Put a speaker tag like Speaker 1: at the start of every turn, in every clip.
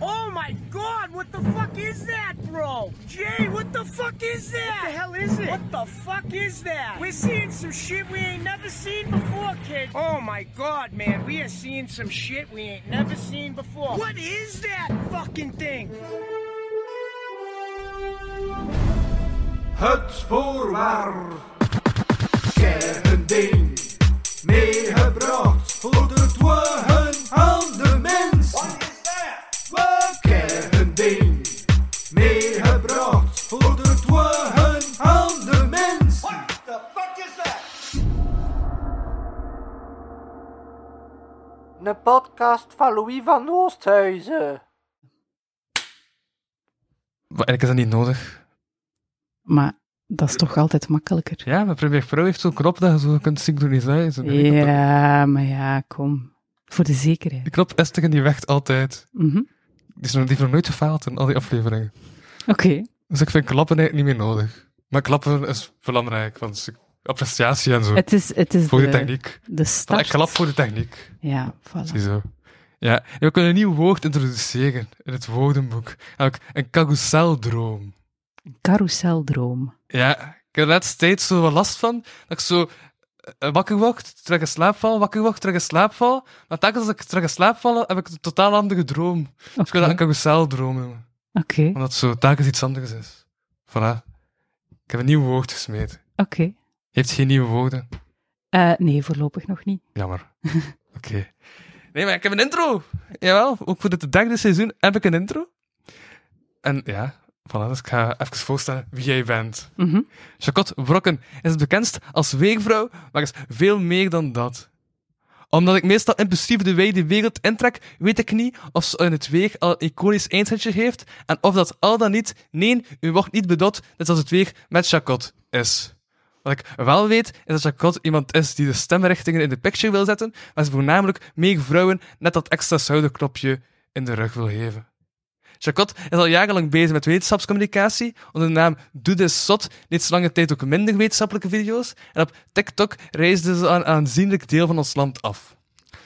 Speaker 1: Oh my god, what the fuck is that, bro? Jay, what the fuck is that? What the hell is it? What the fuck is that? We're seeing some shit we ain't never seen before, kid. Oh my god, man, we are seeing some shit we ain't never seen before. What is that fucking thing?
Speaker 2: Het voorwaar. Kern ding. Meegebracht voor de dwaan aan de mens. Wat is dat? Kern ding. Meegebracht voor de dwaan aan de mens.
Speaker 3: Een podcast van Louis van Oosthuizen.
Speaker 4: Maar Eigenlijk is dat niet nodig.
Speaker 5: Maar dat is toch altijd makkelijker.
Speaker 4: Ja, maar Premiere Pro heeft zo'n knop dat je zo kunt synchroniseren. Zo'n knop.
Speaker 5: Ja, maar ja, kom. Voor de zekerheid.
Speaker 4: Die knop is tegen die weg altijd.
Speaker 5: Mhm.
Speaker 4: Die, is nog, die heeft nog nooit gefaald in al die afleveringen.
Speaker 5: Oké.
Speaker 4: Dus ik vind klappen eigenlijk niet meer nodig. Maar klappen is belangrijk, want het is appreciatie en zo.
Speaker 5: Het eh, is, het is
Speaker 4: voor de,
Speaker 5: de,
Speaker 4: techniek.
Speaker 5: de
Speaker 4: Maar
Speaker 5: start.
Speaker 4: Ik klap voor de techniek.
Speaker 5: Ja, voilà.
Speaker 4: Ziezo. Ja, en we kunnen een nieuw woord introduceren in het woordenboek. Namelijk een carouseldroom.
Speaker 5: Carouseldroom.
Speaker 4: Ja, ik heb er laatst steeds zo wat last van, dat ik zo eh, wakker word, terug in slaap val, wakker word, terug in slaap val. Maar telkens als ik terug in slaap val, heb ik een totaal andere droom. Dus
Speaker 5: Oké.
Speaker 4: ik wil dat een carouseldroom noemen.
Speaker 5: Oké,
Speaker 4: Omdat het zo telkens iets anders is. Voilà. Ik heb een nieuw woord gesmeten.
Speaker 5: oké.
Speaker 4: Je hebt geen nieuwe woorden.
Speaker 5: Eh, nee, voorlopig nog niet.
Speaker 4: Jammer. Oké. Nee, maar ik heb een intro. Jawel, ook voor het derde seizoen heb ik een intro. En ja, voilà, dus ik ga even voorstellen wie jij bent.
Speaker 5: Mhm.
Speaker 4: Jacot Brokken is het bekendst als weegvrouw, maar is veel meer dan dat. Omdat ik meestal impulsief de wijde wereld intrek, weet ik niet of ze in het weeg al een iconisch eindsetje heeft en of dat al dan niet, nee, u wordt niet bedot, net als het weeg met Jacot is. Wat ik wel weet, is dat Jacot iemand is die de stemrichtingen in de picture wil zetten, maar ze voornamelijk meegvrouwen net dat extra zuiderknopje in de rug wil geven. Jacot is al jarenlang bezig met wetenschapscommunicatie. Onder de naam Doe This Zot deed ze lange tijd ook minder wetenschappelijke video's. En op TikTok reisde ze aan een aanzienlijk deel van ons land af.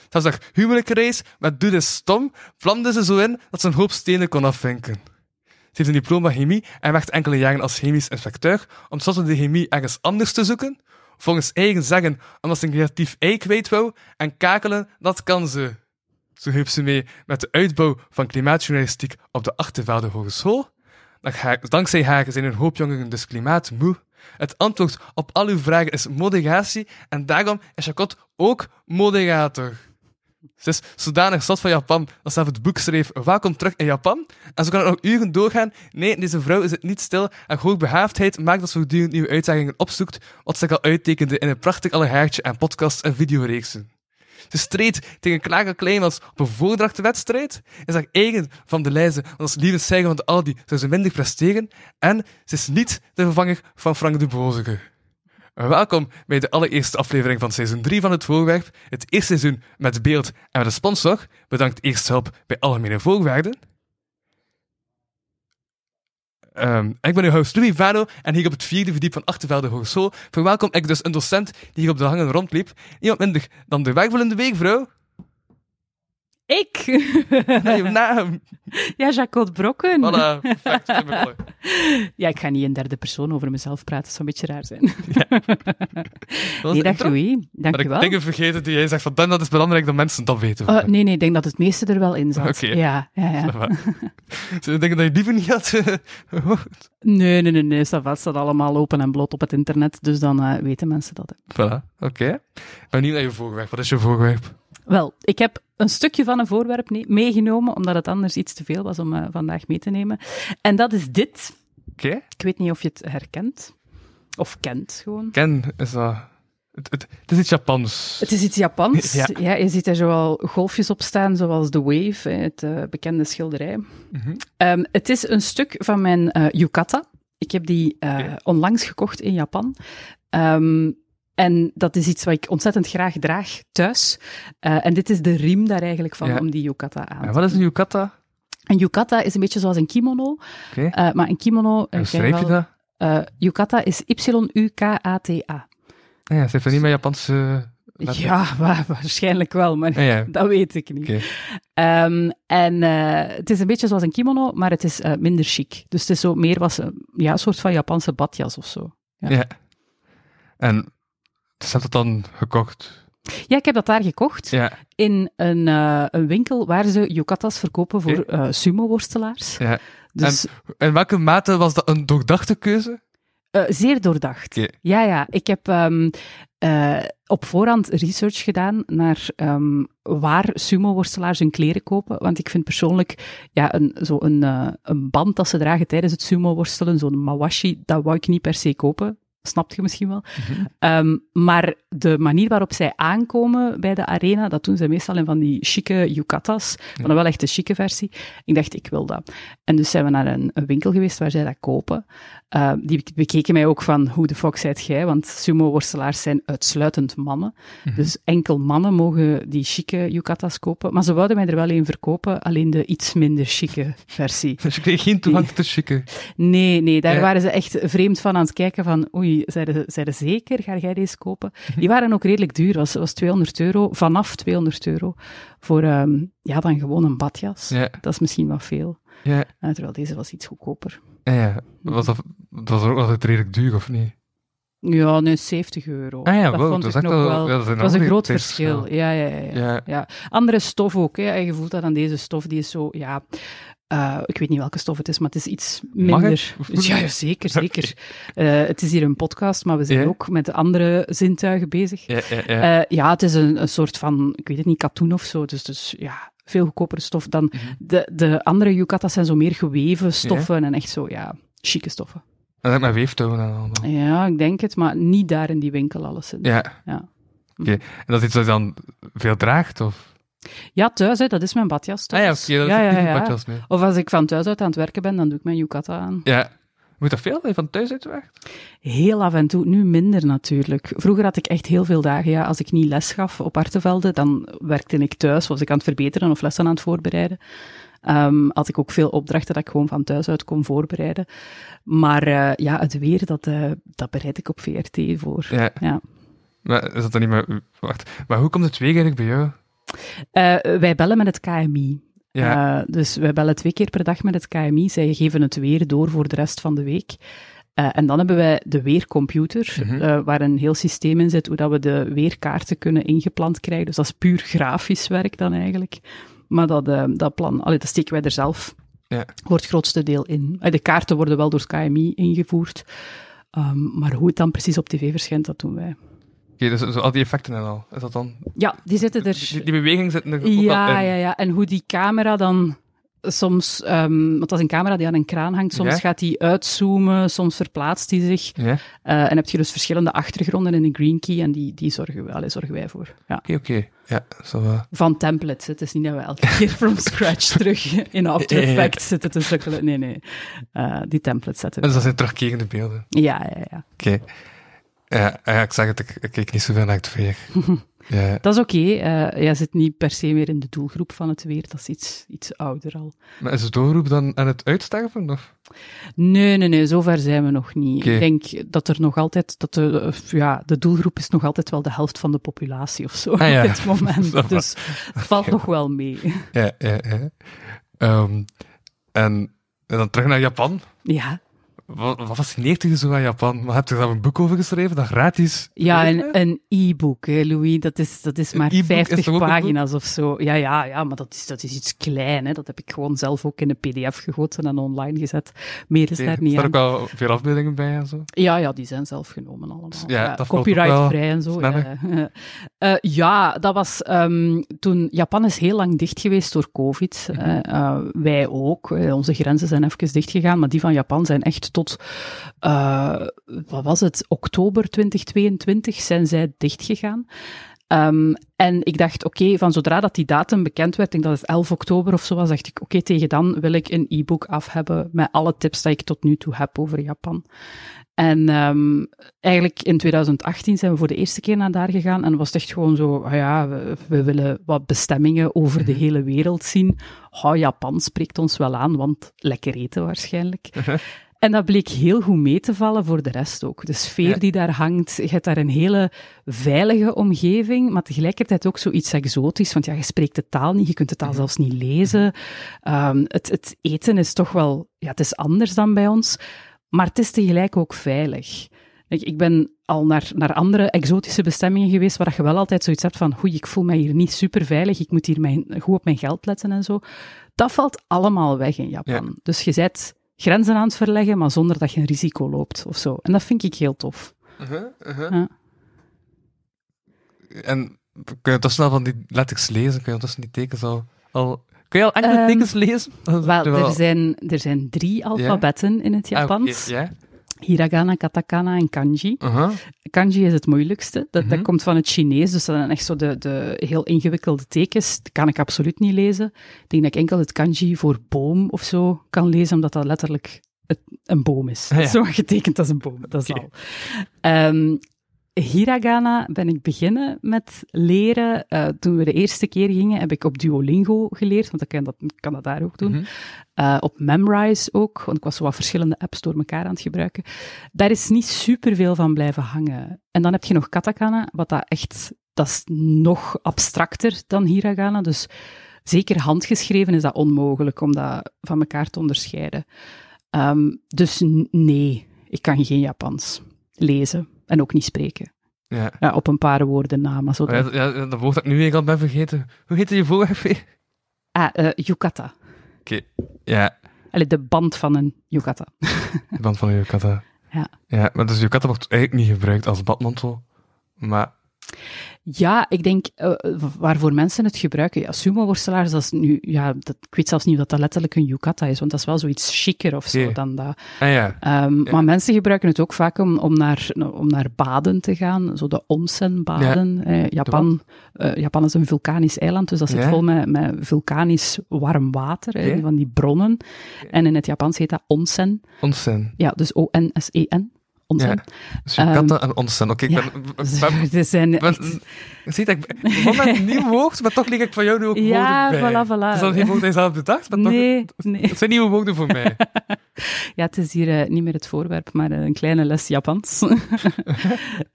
Speaker 4: Zelfs haar huwelijksreis met Doe This Stom vlamde ze zo in dat ze een hoop stenen kon afvinken. Ze heeft een diploma chemie en werkt enkele jaren als chemisch inspecteur om tenslotte de chemie ergens anders te zoeken. Volgens eigen zeggen omdat ze een creatief ei kwijt wou en kakelen, dat kan ze. Zo hielp ze mee met de uitbouw van klimaatjournalistiek op de Achtervelde Hogeschool. Dank haar- Dankzij haar zijn een hoop jongeren dus klimaatmoe. Het antwoord op al uw vragen is moderatie en daarom is Jacot ook moderator. Ze is zodanig zat van Japan dat ze zelf het boek schreef Welkom terug in Japan. En zo kan het nog uren doorgaan. Nee, deze vrouw zit niet stil. Haar hoogbehaafdheid maakt dat ze voortdurend nieuwe uitdagingen opzoekt, wat ze al uittekende in een prachtig allerhaartje aan podcasts en videoreeksen. Ze streed tegen Klager Kleimans op een voordrachtwedstrijd. En zag eigen van de lijzen, want als lieve zeggen van de Aldi zou ze minder presteren. En ze is niet de vervanger van Frank de Bozige. Welkom bij de allereerste aflevering van seizoen 3 van het Voorwerp. Het eerste seizoen met beeld en met een sponsor. Bedankt Eerst Hulp bij Algemene Voorwaarden. Ehm, ik ben uw host Louis Vano en hier op het vierde verdiep van Achtervelde Hogeschool verwelkom ik dus een docent die hier op de hangen rondliep. Niemand minder dan de werkvullende weekvrouw.
Speaker 5: Ik!
Speaker 4: Nee, uw naam.
Speaker 5: ja, Jacot Brokken.
Speaker 4: Voilà, perfect. Ik ben er.
Speaker 5: Ja, ik ga niet in derde persoon over mezelf praten. Dat zou een beetje raar zijn.
Speaker 4: Dat was
Speaker 5: Nee,
Speaker 4: de
Speaker 5: dag
Speaker 4: intro.
Speaker 5: Louis. Dank
Speaker 4: Maar
Speaker 5: je
Speaker 4: ik
Speaker 5: wel.
Speaker 4: dingen vergeten die jij zegt van dan dat is belangrijk dat mensen dat weten.
Speaker 5: Eh, nee, nee, ik denk dat het meeste er wel in zat.
Speaker 4: Oké.
Speaker 5: Ja, ja, ja.
Speaker 4: Ze denken dat je liever niet had eh, gehoord.
Speaker 5: Nee, nee, nee, nee. Ça va, het staat allemaal open en bloot op het internet. Dus dan eh, weten mensen dat. hè.
Speaker 4: Voilà, oké. Ik ben benieuwd naar je voorwerp. Wat is je voorwerp?
Speaker 5: Wel, ik heb een stukje van een voorwerp ne- meegenomen, omdat het anders iets te veel was om eh, vandaag mee te nemen. En dat is dit.
Speaker 4: Oké.
Speaker 5: Ik weet niet of je het herkent. Of kent, gewoon.
Speaker 4: Ken is dat... Het, het, het is iets Japans.
Speaker 5: Het is iets Japans.
Speaker 4: Ja.
Speaker 5: Ja. je ziet er zowel golfjes op staan, zoals The Wave, hè, het eh, bekende schilderij.
Speaker 4: Mhm.
Speaker 5: Ehm, het is een stuk van mijn eh yukata. Ik heb die eh,
Speaker 4: Oké.
Speaker 5: onlangs gekocht in Japan. Ehm, en dat is iets wat ik ontzettend graag draag thuis. Eh, en dit is de riem daar eigenlijk van
Speaker 4: Ja.
Speaker 5: om die yukata aan te
Speaker 4: En wat is een yukata?
Speaker 5: Een yukata is een beetje zoals een kimono.
Speaker 4: Oké.
Speaker 5: eh, maar een kimono... eh,
Speaker 4: En hoe
Speaker 5: ken
Speaker 4: schrijf je
Speaker 5: wel-
Speaker 4: dat?
Speaker 5: eh, yukata is Y-U-K-A-T-A.
Speaker 4: Ah Ja, ze heeft dat niet met Japanse Let-
Speaker 5: Ja, wa- waarschijnlijk wel, maar
Speaker 4: Ja, Ah, ja.
Speaker 5: dat weet ik niet.
Speaker 4: Oké.
Speaker 5: Ehm, en eh, het is een beetje zoals een kimono, maar het is eh, minder chic. Dus het is zo meer was een, ja, een soort van Japanse badjas of zo. Ja.
Speaker 4: Ja. En ze hebben dat dan gekocht.
Speaker 5: Ja, ik heb dat daar gekocht
Speaker 4: Ja,
Speaker 5: in een, eh, een winkel waar ze yukatas verkopen voor
Speaker 4: Oké.
Speaker 5: eh, sumo-worstelaars.
Speaker 4: ja.
Speaker 5: Dus
Speaker 4: In welke mate was dat een doordachte keuze?
Speaker 5: eh, zeer doordacht.
Speaker 4: Oké.
Speaker 5: Ja, ja. Ik heb ehm, eh, op voorhand research gedaan naar ehm, waar sumo-worstelaars hun kleren kopen. Want ik vind persoonlijk ja, een, zo een, eh, een band dat ze dragen tijdens het sumo-worstelen, zo'n mawashi, dat wou ik niet per se kopen. Snapt je misschien wel. Ehm, maar de manier waarop zij aankomen bij de arena, dat doen ze meestal in van die chique yukatas, maar dan wel echt de chique versie. Ik dacht, ik wil dat. En dus zijn we naar een, een winkel geweest waar zij dat kopen. Eh, die bekeken mij ook van, hoe de fuck zijt jij? Want sumo-worstelaars zijn uitsluitend mannen. Dus enkel mannen mogen die chique yukatas kopen. Maar ze wilden mij er wel een verkopen, alleen de iets minder chique versie.
Speaker 4: Dus je kreeg geen toegang tot chicken.
Speaker 5: Nee, nee, daar
Speaker 4: Ja.
Speaker 5: waren ze echt vreemd van aan het kijken van oei, zijn ze, zijn ze zeker? Ga jij deze kopen?
Speaker 4: Mhm.
Speaker 5: Die waren ook redelijk duur, was, was 200 euro, vanaf 200 euro, voor ehm, ja, dan gewoon een badjas.
Speaker 4: Ja.
Speaker 5: Dat is misschien wat veel,
Speaker 4: Ja,
Speaker 5: Eh, terwijl deze was iets goedkoper.
Speaker 4: ja, ja. Was dat, dat was ook altijd redelijk duur, of niet?
Speaker 5: Ja, nee, 70 euro.
Speaker 4: Ah ja,
Speaker 5: dat
Speaker 4: wow,
Speaker 5: vond
Speaker 4: dat
Speaker 5: ik
Speaker 4: is
Speaker 5: nog
Speaker 4: echt wel-
Speaker 5: wel...
Speaker 4: ja, dat is
Speaker 5: dat was een
Speaker 4: enorm
Speaker 5: groot
Speaker 4: groot
Speaker 5: verschil.
Speaker 4: verschil.
Speaker 5: Ja, ja, ja, ja.
Speaker 4: Ja.
Speaker 5: Ja. Andere stof ook, hè. je voelt dat aan deze stof, die is zo, ja... eh, ik weet niet welke stof het is, maar het is iets
Speaker 4: Mag
Speaker 5: minder.
Speaker 4: ik?
Speaker 5: Ja, ja, zeker, zeker. Eh, het is hier een podcast, maar we zijn
Speaker 4: Ja.
Speaker 5: ook met andere zintuigen bezig.
Speaker 4: Ja, ja, ja.
Speaker 5: Eh, ja, het is een, een soort van, ik weet het niet, katoen of zo. Dus, dus ja, veel goedkopere stof dan
Speaker 4: Mhm.
Speaker 5: de, de andere yukatas zijn zo meer geweven stoffen en echt zo, ja, chique stoffen.
Speaker 4: Dat ik mijn weeftouwen en allemaal.
Speaker 5: Ja, ik denk het, maar niet daar in die winkel alleszins.
Speaker 4: Ja.
Speaker 5: Ja.
Speaker 4: Oké. En dat is iets dat je dan veel draagt, of?
Speaker 5: Ja, thuis, hè, dat is mijn badjas.
Speaker 4: Ah ja,
Speaker 5: thuis.
Speaker 4: oké, dat is
Speaker 5: Ja,
Speaker 4: ja,
Speaker 5: ja,
Speaker 4: een
Speaker 5: ja.
Speaker 4: badjas mee.
Speaker 5: Of als ik van thuis uit aan het werken ben, dan doe ik mijn yukata aan.
Speaker 4: Ja. Moet dat veel dat je van thuis uit draagt?
Speaker 5: Heel af en toe, nu minder natuurlijk. Vroeger had ik echt heel veel dagen, ja, als ik niet les gaf op Artevelde, dan werkte ik thuis, was ik aan het verbeteren of lessen aan het voorbereiden. Ehm, had ik ook veel opdrachten dat ik gewoon van thuis uit kon voorbereiden. Maar eh, ja, het weer, dat, eh, dat bereid ik op VRT voor.
Speaker 4: Ja.
Speaker 5: Ja.
Speaker 4: Maar is dat dan niet meer... Wacht. Maar hoe komt het weer eigenlijk bij jou?
Speaker 5: Eh, wij bellen met het KMI.
Speaker 4: Ja.
Speaker 5: Eh, dus wij bellen twee keer per dag met het KMI. Zij geven het weer door voor de rest van de week. Eh, en dan hebben wij de weercomputer,
Speaker 4: Mhm.
Speaker 5: eh, waar een heel systeem in zit hoe dat we de weerkaarten kunnen ingeplant krijgen. Dus dat is puur grafisch werk dan eigenlijk. Maar dat, eh, dat plan, allee, dat steken wij er zelf
Speaker 4: Ja.
Speaker 5: voor het grootste deel in. Eh, de kaarten worden wel door het KMI ingevoerd. Ehm, maar hoe het dan precies op tv verschijnt, dat doen wij.
Speaker 4: Oké, dus zo al die effecten en al. Is dat dan...
Speaker 5: Ja, die zitten er.
Speaker 4: Die, die beweging zit er ook wel
Speaker 5: Ja,
Speaker 4: in.
Speaker 5: ja, ja. En hoe die camera dan soms, ehm, want dat is een camera die aan een kraan hangt, soms
Speaker 4: Ja.
Speaker 5: gaat die uitzoomen, soms verplaatst die zich.
Speaker 4: Ja? Oké,
Speaker 5: Eh, en heb je dus verschillende achtergronden in een green key en die, die zorgen, we, allee, zorgen wij voor. Ja.
Speaker 4: oké. Ja, zo wel.
Speaker 5: Van templates. Het is niet dat we elke keer from scratch terug in After
Speaker 4: Ja, ja, ja.
Speaker 5: Effects zitten te sukkelen. Nee, nee. Eh, die templates zetten we.
Speaker 4: Dus dat zijn terugkerende beelden.
Speaker 5: Ja, ja, ja.
Speaker 4: Oké. Ja, ja, ik zeg het, ik, ik kijk niet zoveel naar het weer. ja.
Speaker 5: Dat is oké. Eh, jij zit niet per se meer in de doelgroep van het weer. Dat is iets, iets ouder al.
Speaker 4: Maar is het doorroep dan aan het uitsterven? Of?
Speaker 5: Nee, nee, nee, zover zijn we nog niet.
Speaker 4: Oké.
Speaker 5: Ik denk dat er nog altijd, dat de, eh, ja, de doelgroep is nog altijd wel de helft van de populatie of zo
Speaker 4: Ah, ja.
Speaker 5: op dit moment.
Speaker 4: Dat
Speaker 5: dus het valt nog wel mee.
Speaker 4: Ja, ja, ja. Ehm, en, en dan terug naar Japan.
Speaker 5: Ja,
Speaker 4: Wat, wat fascineert je zo aan Japan? Maar heb je daar een boek over geschreven, dat gratis?
Speaker 5: ja
Speaker 4: gelezen
Speaker 5: een, een e-book, hè, Louis, dat is, dat is maar
Speaker 4: Eh, e-book is
Speaker 5: 50
Speaker 4: toch ook een
Speaker 5: pagina's of zo. Ja, ja, ja, maar dat is, dat is iets klein. Hè. Dat heb ik gewoon zelf ook in een pdf gegoten en online gezet. Meer is
Speaker 4: Oké,
Speaker 5: daar niet
Speaker 4: Er
Speaker 5: aan.
Speaker 4: staan ook wel veel afbeeldingen bij en zo.
Speaker 5: Ja, ja, die zijn zelf genomen allemaal.
Speaker 4: Ja,
Speaker 5: Ja,
Speaker 4: dat valt ook
Speaker 5: copyrightvrij en zo.
Speaker 4: sneller.
Speaker 5: Ja, ja. Eh, ja, dat was ehm, toen... Japan is heel lang dicht geweest door covid.
Speaker 4: Mhm.
Speaker 5: eh, eh, wij ook. Eh, onze grenzen zijn even dichtgegaan, maar die van Japan zijn echt tot... eh, wat was het? Oktober 2022 zijn zij dichtgegaan. Ehm, en ik dacht, oké, van zodra dat die datum bekend werd, ik denk dat het 11 oktober of zo was, dacht ik, oké, tegen dan wil ik een e-book af hebben met alle tips die ik tot nu toe heb over Japan. En ehm, eigenlijk in 2018 zijn we voor de eerste keer naar daar gegaan. En was het echt gewoon zo, ah ja, we, we willen wat bestemmingen over de hele wereld zien. Oh, Japan spreekt ons wel aan, want lekker eten waarschijnlijk. En dat bleek heel goed mee te vallen voor de rest ook. De sfeer
Speaker 4: Ja.
Speaker 5: die daar hangt, je hebt daar een hele veilige omgeving, maar tegelijkertijd ook zoiets exotisch, want ja, je spreekt de taal niet, je kunt de taal zelfs niet lezen. Ehm, het, het eten is toch wel, ja, het is anders dan bij ons, maar het is tegelijk ook veilig. Ik, ik ben al naar, naar andere exotische bestemmingen geweest, waar dat je wel altijd zoiets hebt van, oei, ik voel mij hier niet super veilig, ik moet hier mijn, goed op mijn geld letten en zo. Dat valt allemaal weg in Japan.
Speaker 4: Ja.
Speaker 5: Dus je zet grenzen aan het verleggen, maar zonder dat je een risico loopt of zo. En dat vind ik heel tof.
Speaker 4: Uh-huh, uh-huh.
Speaker 5: Ja.
Speaker 4: En kun je toch snel van die letters lezen? Kun je tussen die tekens al... al kun je al enkele
Speaker 5: Ehm,
Speaker 4: tekens lezen?
Speaker 5: Wel,
Speaker 4: Terwijl-
Speaker 5: er zijn, er zijn drie alfabetten in het
Speaker 4: Ah, oké,
Speaker 5: Japans.
Speaker 4: Ja?
Speaker 5: Hiragana, katakana en kanji.
Speaker 4: Uh-huh.
Speaker 5: Kanji is het moeilijkste. Dat,
Speaker 4: Mhm.
Speaker 5: dat komt van het Chinees, dus dat zijn echt zo de, de heel ingewikkelde tekens. Dat kan ik absoluut niet lezen. Ik denk dat ik enkel het kanji voor boom of zo kan lezen, omdat dat letterlijk het- een boom is.
Speaker 4: Ah, ja.
Speaker 5: Zo getekend als een boom, dat is
Speaker 4: Oké.
Speaker 5: al. Ehm, hiragana ben ik beginnen met leren. Eh, toen we de eerste keer gingen, heb ik op Duolingo geleerd, want ik kan dat, ik kan dat daar ook doen.
Speaker 4: Mhm.
Speaker 5: Eh, op Memrise ook, want ik was zo wat verschillende apps door elkaar aan het gebruiken. Daar is niet superveel van blijven hangen. En dan heb je nog katakana, wat dat echt, dat is nog abstracter dan hiragana. Dus zeker handgeschreven is dat onmogelijk om dat van elkaar te onderscheiden. Ehm, dus n- nee, ik kan geen Japans lezen en ook niet spreken.
Speaker 4: Ja.
Speaker 5: Ja, op een paar woorden na, maar zo.
Speaker 4: Oh, Ja,
Speaker 5: dat-
Speaker 4: dat- ja, dat woord dat ik nu weer al ben vergeten. Hoe heette je vorige Oké.
Speaker 5: Ah, eh, yukata.
Speaker 4: Ja,
Speaker 5: Allee, de band van een yukata.
Speaker 4: de band van de yukata.
Speaker 5: Ja.
Speaker 4: ja. Maar dus yukata wordt eigenlijk niet gebruikt als badmantel. Maar
Speaker 5: Ja, ik denk eh, waarvoor mensen het gebruiken. Ja, sumo-worstelaars, dat is nu, ja, dat, ik weet zelfs niet of dat, dat letterlijk een yukata is, want dat is wel zoiets chiquer of zo
Speaker 4: Oké.
Speaker 5: dan dat.
Speaker 4: ah, ja.
Speaker 5: Ehm,
Speaker 4: Ja.
Speaker 5: Maar mensen gebruiken het ook vaak om, om, naar, om naar baden te gaan, zo de onsen-baden. Eh, Japan, eh, Japan is een vulkanisch eiland, dus dat zit
Speaker 4: Ja.
Speaker 5: vol met, met vulkanisch warm water, hè,
Speaker 4: Oké.
Speaker 5: van die bronnen. En in het Japans heet dat onsen.
Speaker 4: onsen.
Speaker 5: Ja, dus O-N-S-E-N. Onsen.
Speaker 4: Ja. Dus yukata en onsen. Oké,
Speaker 5: Ehm, ja.
Speaker 4: ik ben...
Speaker 5: Dus
Speaker 4: ben-
Speaker 5: er zijn
Speaker 4: ben-
Speaker 5: echt-
Speaker 4: zie dat ik ben- op het moment een nieuw woord, maar toch lig ik van jou nu ook
Speaker 5: Ja,
Speaker 4: woorden bij.
Speaker 5: voilà, voilà.
Speaker 4: Het is al geen woord dat je zelf bedacht, maar
Speaker 5: Nee,
Speaker 4: toch...
Speaker 5: nee.
Speaker 4: Het zijn nieuwe woorden voor mij.
Speaker 5: Ja, het is hier eh, niet meer het voorwerp, maar eh, een kleine les Japans.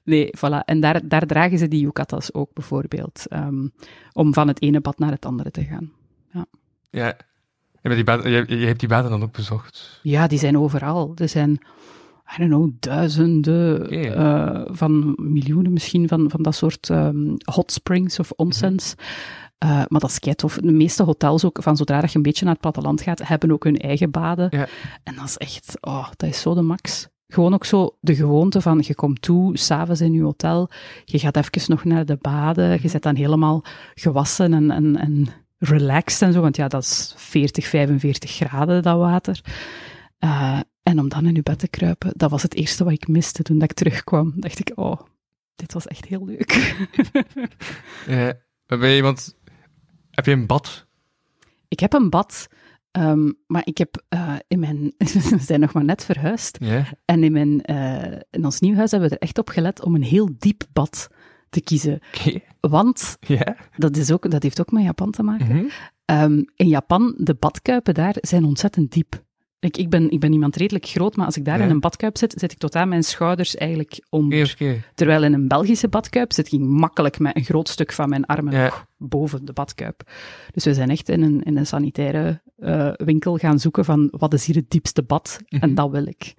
Speaker 5: nee, voilà. En daar, daar dragen ze die yukatas ook bijvoorbeeld, ehm, om van het ene bad naar het andere te gaan.
Speaker 4: Ja. Je, bent die baden- je, je hebt die baden dan ook bezocht.
Speaker 5: Ja, die zijn overal. Er zijn, I don't know, duizenden,
Speaker 4: Oké.
Speaker 5: eh, van miljoenen misschien, van, van dat soort ehm, hot springs of onsens.
Speaker 4: Mhm.
Speaker 5: Eh, maar dat is keitof. De meeste hotels ook, van zodra dat je een beetje naar het platteland gaat, hebben ook hun eigen baden.
Speaker 4: Ja.
Speaker 5: En dat is echt, oh, dat is zo de max. Gewoon ook zo de gewoonte van, je komt toe, s'avonds in je hotel, je gaat even nog naar de baden,
Speaker 4: Mhm.
Speaker 5: je zit dan helemaal gewassen en, en, en relaxed en zo, want ja, dat is 40, 45 graden, dat water. Eh, en om dan in je bed te kruipen, dat was het eerste wat ik miste toen dat ik terugkwam. Dacht ik, oh, dit was echt heel leuk.
Speaker 4: Ja. Maar Ben je iemand... Heb je een bad?
Speaker 5: ik heb een bad, ehm, maar ik heb eh, in mijn... We zijn nog maar net verhuisd.
Speaker 4: Ja.
Speaker 5: En in, mijn, eh, in ons nieuw huis hebben we er echt op gelet om een heel diep bad te kiezen.
Speaker 4: Oké.
Speaker 5: Want,
Speaker 4: Ja.
Speaker 5: dat, is ook, dat heeft ook met Japan te maken.
Speaker 4: Mhm.
Speaker 5: Ehm, in Japan, de badkuipen daar zijn ontzettend diep. Ik, ik, ben, ik ben iemand redelijk groot, maar als ik daar
Speaker 4: Ja.
Speaker 5: in een badkuip zit, zit ik tot aan mijn schouders eigenlijk onder.
Speaker 4: Oké, oké.
Speaker 5: Terwijl in een Belgische badkuip zit ik makkelijk met een groot stuk van mijn armen
Speaker 4: Ja.
Speaker 5: nog boven de badkuip. Dus we zijn echt in een, in een sanitaire eh, winkel gaan zoeken van wat is hier het diepste bad?
Speaker 4: Mhm.
Speaker 5: En dat wil ik.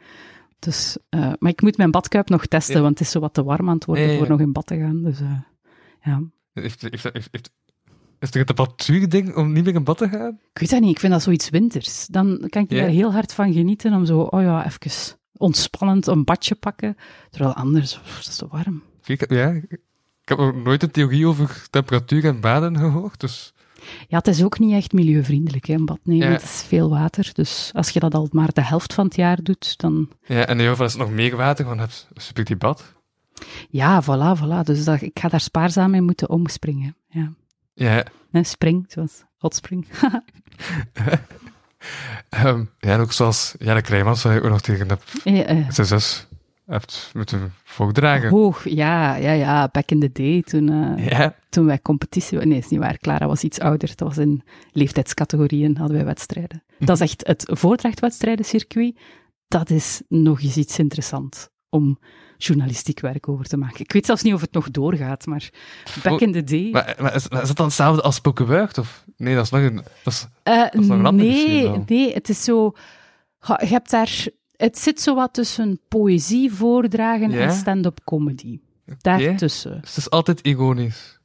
Speaker 5: Dus, eh, maar ik moet mijn badkuip nog testen,
Speaker 4: Ja.
Speaker 5: want het is zo wat te warm aan het worden
Speaker 4: Ja, ja,
Speaker 5: voor
Speaker 4: ja.
Speaker 5: nog in bad te gaan. Dus eh, ja.
Speaker 4: Heeft, heeft, heeft, heeft, is het een temperatuurding om niet meer in bad te gaan?
Speaker 5: Ik weet dat niet, ik vind dat zoiets winters. Dan kan ik
Speaker 4: Ja.
Speaker 5: daar heel hard van genieten om zo, oh ja, even ontspannend een badje pakken. Terwijl anders, pff, dat is te warm.
Speaker 4: Ik, heb- ja, ik heb nog nooit een theorie over temperatuur en baden gehoord, dus...
Speaker 5: Ja, het is ook niet echt milieuvriendelijk, hè, een bad nemen.
Speaker 4: Ja.
Speaker 5: Het is veel water, dus als je dat al maar de helft van het jaar doet, dan...
Speaker 4: Ja, en in ieder geval is het nog meer water, want heb super die bad.
Speaker 5: Ja, voilà, voilà. Dus dat, ik ga daar spaarzaam mee moeten omspringen. Ja.
Speaker 4: Ja,
Speaker 5: Nee, spring, zoals hot spring.
Speaker 4: ehm, ja en ook zoals Jelle Krijmans, waar ik ook nog tegen heb,
Speaker 5: Eh, eh,
Speaker 4: zijn zus heeft moeten voordragen.
Speaker 5: hoog, ja, ja, ja. Back in the day, toen, eh,
Speaker 4: Ja,
Speaker 5: toen wij competitie... Nee, is niet waar. Clara was iets ouder. Dat was
Speaker 4: Hm.
Speaker 5: in leeftijdscategorieën, hadden wij wedstrijden. Dat is echt het voordrachtwedstrijdencircuit. dat is nog eens iets interessants om journalistiek werk over te maken. Ik weet zelfs niet of het nog doorgaat, maar back in the day...
Speaker 4: Oh, Maar, maar is, maar is dat dan hetzelfde als Spoken Word? Of? Nee, dat is nog een... Dat is,
Speaker 5: Eh,
Speaker 4: is nog een
Speaker 5: nee,
Speaker 4: ander
Speaker 5: nee, het is zo. Goh, Je hebt daar. Het zit zo wat tussen poëzie voordragen
Speaker 4: Ja?
Speaker 5: en stand-up comedy. Daartussen.
Speaker 4: dus het is altijd ironisch.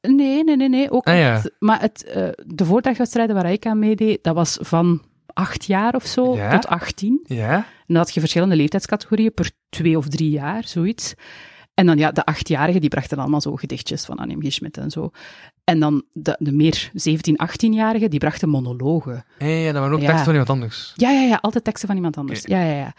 Speaker 5: Nee, nee, nee, nee. Ook
Speaker 4: Ah, ja.
Speaker 5: niet. Maar het, eh, de voordrachtwedstrijden waar ik aan meedeed, dat was van acht jaar of zo
Speaker 4: Ja?
Speaker 5: tot achttien.
Speaker 4: Ja?
Speaker 5: En dan had je verschillende leeftijdscategorieën per twee of drie jaar, zoiets. En dan ja, de achtjarigen, die brachten allemaal zo gedichtjes van Annie M. G. Schmidt en zo. En dan de, de meer 17, 18-jarigen, die brachten monologen.
Speaker 4: Ja, ja, dat waren ook
Speaker 5: Ja.
Speaker 4: teksten van iemand anders.
Speaker 5: Ja, ja, ja, altijd teksten van iemand anders. Ja, ja, ja.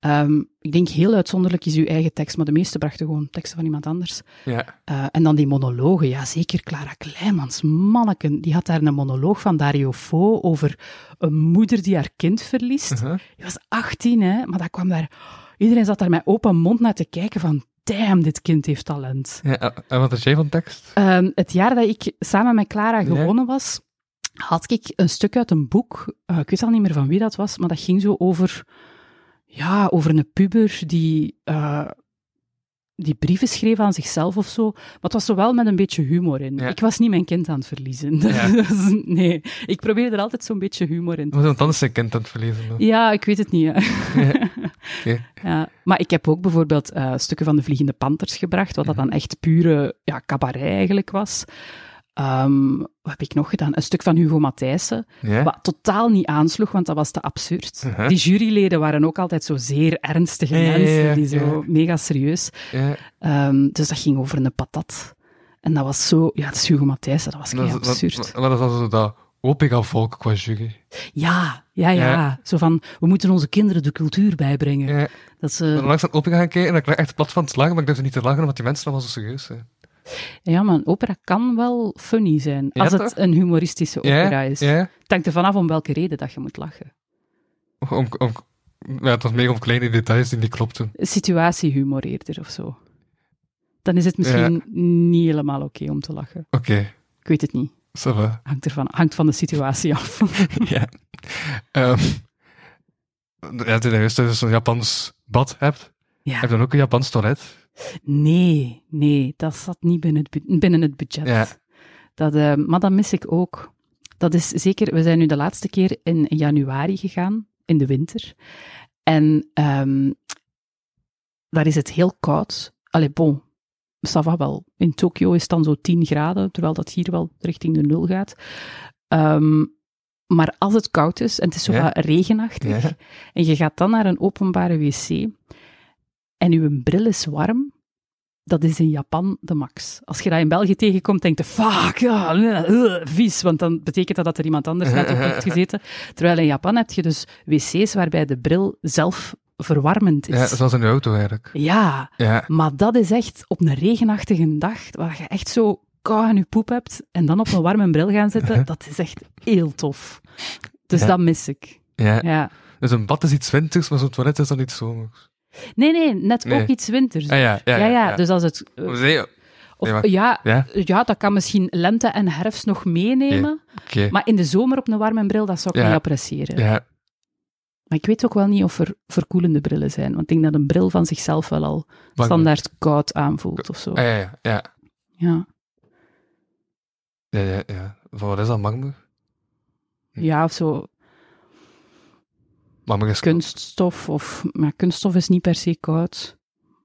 Speaker 5: Ehm, ik denk heel uitzonderlijk is uw eigen tekst, maar de meeste brachten gewoon teksten van iemand anders.
Speaker 4: Ja.
Speaker 5: Eh, en dan die monologen, ja zeker, Clara Kleimans, manneken, die had daar een monoloog van Dario Fo over een moeder die haar kind verliest.
Speaker 4: Uh-huh.
Speaker 5: Die was 18, hè, maar dat kwam daar... Iedereen zat daar met open mond naar te kijken van, damn, dit kind heeft talent.
Speaker 4: ja. En wat is jij van tekst?
Speaker 5: Ehm, het jaar dat ik samen met Clara
Speaker 4: Ja.
Speaker 5: gewonnen was, had ik een stuk uit een boek. eh, ik weet al niet meer van wie dat was, maar dat ging zo over, ja, over een puber die, eh, die brieven schreef aan zichzelf of zo. Maar het was zo wel met een beetje humor in.
Speaker 4: Ja.
Speaker 5: Ik was niet mijn kind aan het verliezen.
Speaker 4: Ja.
Speaker 5: Dus nee, ik probeer er altijd zo'n beetje humor in te
Speaker 4: Moet iemand anders zijn kind aan het verliezen? dan?
Speaker 5: ja, ik weet het niet. hè.
Speaker 4: Ja. Oké.
Speaker 5: Ja, maar ik heb ook bijvoorbeeld eh, stukken van de Vliegende Panters gebracht, wat dat
Speaker 4: Mhm.
Speaker 5: dan echt pure ja, cabaret eigenlijk was. Ehm, wat heb ik nog gedaan? Een stuk van Hugo Matthijssen,
Speaker 4: Ja?
Speaker 5: wat totaal niet aansloeg, want dat was te absurd.
Speaker 4: Mhm.
Speaker 5: Die juryleden waren ook altijd zo zeer ernstige
Speaker 4: Ja, ja, ja,
Speaker 5: mensen,
Speaker 4: ja.
Speaker 5: die zo mega serieus.
Speaker 4: Ja.
Speaker 5: Ehm, dus dat ging over een patat. En dat was zo... Ja, dat is Hugo Matthijssen, dat was
Speaker 4: Dat
Speaker 5: kei
Speaker 4: is- dat-
Speaker 5: absurd.
Speaker 4: Maar dat is dan zo dat opiga volk qua jury.
Speaker 5: Ja, ja, ja,
Speaker 4: Ja.
Speaker 5: Zo van, we moeten onze kinderen de cultuur bijbrengen.
Speaker 4: Ja.
Speaker 5: Dat ze...
Speaker 4: Ik ben langs aan het opiga gaan kijken en ik lag echt plat van het lachen, maar ik durfde niet te lachen omdat die mensen allemaal zo serieus zijn.
Speaker 5: Ja, maar een opera kan wel funny zijn.
Speaker 4: Ja,
Speaker 5: als het
Speaker 4: toch?
Speaker 5: een humoristische
Speaker 4: Ja,
Speaker 5: opera is.
Speaker 4: Ja?
Speaker 5: Het hangt er vanaf om welke reden dat je moet lachen.
Speaker 4: Om, om, ja, het was meer om kleine details die niet klopten.
Speaker 5: Situatiehumor eerder of zo. Dan is het misschien niet helemaal oké om te lachen.
Speaker 4: Oké,
Speaker 5: Ik weet het niet.
Speaker 4: ça va.
Speaker 5: Hangt, ervan, hangt van de situatie af.
Speaker 4: ja. Ehm ja, ten eerste, als je zo'n Japans bad hebt, heb
Speaker 5: ja.
Speaker 4: je dan ook een Japans toilet.
Speaker 5: Nee, nee, dat zat niet binnen het, bu- binnen het budget.
Speaker 4: Ja.
Speaker 5: Dat, eh, maar dat mis ik ook. Dat is zeker, we zijn nu de laatste keer in januari gegaan, in de winter. En ehm, daar is het heel koud. Allee, bon, ça va wel. In Tokio is het dan zo 10 graden, terwijl dat hier wel richting de nul gaat. Ehm, maar als het koud is, en het is zo
Speaker 4: Ja.
Speaker 5: wat regenachtig,
Speaker 4: Ja.
Speaker 5: en je gaat dan naar een openbare wc, en uw bril is warm, dat is in Japan de max. Als je dat in België tegenkomt, denk je, fuck, ja, eh, eh, vies, want dan betekent dat dat er iemand anders net op heeft gezeten. Terwijl in Japan heb je dus wc's waarbij de bril zelf verwarmend
Speaker 4: Ja,
Speaker 5: is.
Speaker 4: zoals in de auto eigenlijk.
Speaker 5: ja,
Speaker 4: Ja.
Speaker 5: maar dat is echt op een regenachtige dag, waar je echt zo kou aan je poep hebt, en dan op een warme bril gaan zitten, dat is echt heel tof. Dus
Speaker 4: Ja.
Speaker 5: dat mis ik.
Speaker 4: Ja.
Speaker 5: Ja.
Speaker 4: Dus een bad is iets winters, maar zo'n toilet is dan iets zomers.
Speaker 5: Nee, nee, net
Speaker 4: Nee.
Speaker 5: ook iets winters.
Speaker 4: Ah, ja, ja,
Speaker 5: ja,
Speaker 4: ja, ja.
Speaker 5: dus als het... eh,
Speaker 4: We zeggen-
Speaker 5: Of,
Speaker 4: Nee, maar-
Speaker 5: ja,
Speaker 4: Ja?
Speaker 5: ja? dat kan misschien lente en herfst nog meenemen.
Speaker 4: Oké.
Speaker 5: Maar in de zomer op een warme bril, dat zou ik
Speaker 4: Ja.
Speaker 5: niet appreciëren.
Speaker 4: Ja,
Speaker 5: Maar ik weet ook wel niet of er verkoelende brillen zijn. Want ik denk dat een bril van zichzelf wel al standaard koud aanvoelt of zo.
Speaker 4: Ah, ja, ja, ja.
Speaker 5: Ja,
Speaker 4: Ja, ja, ja. Van wat is dat, Magmer?
Speaker 5: ja of zo
Speaker 4: Magmer is...
Speaker 5: kunststof. Of, maar kunststof is niet per se koud.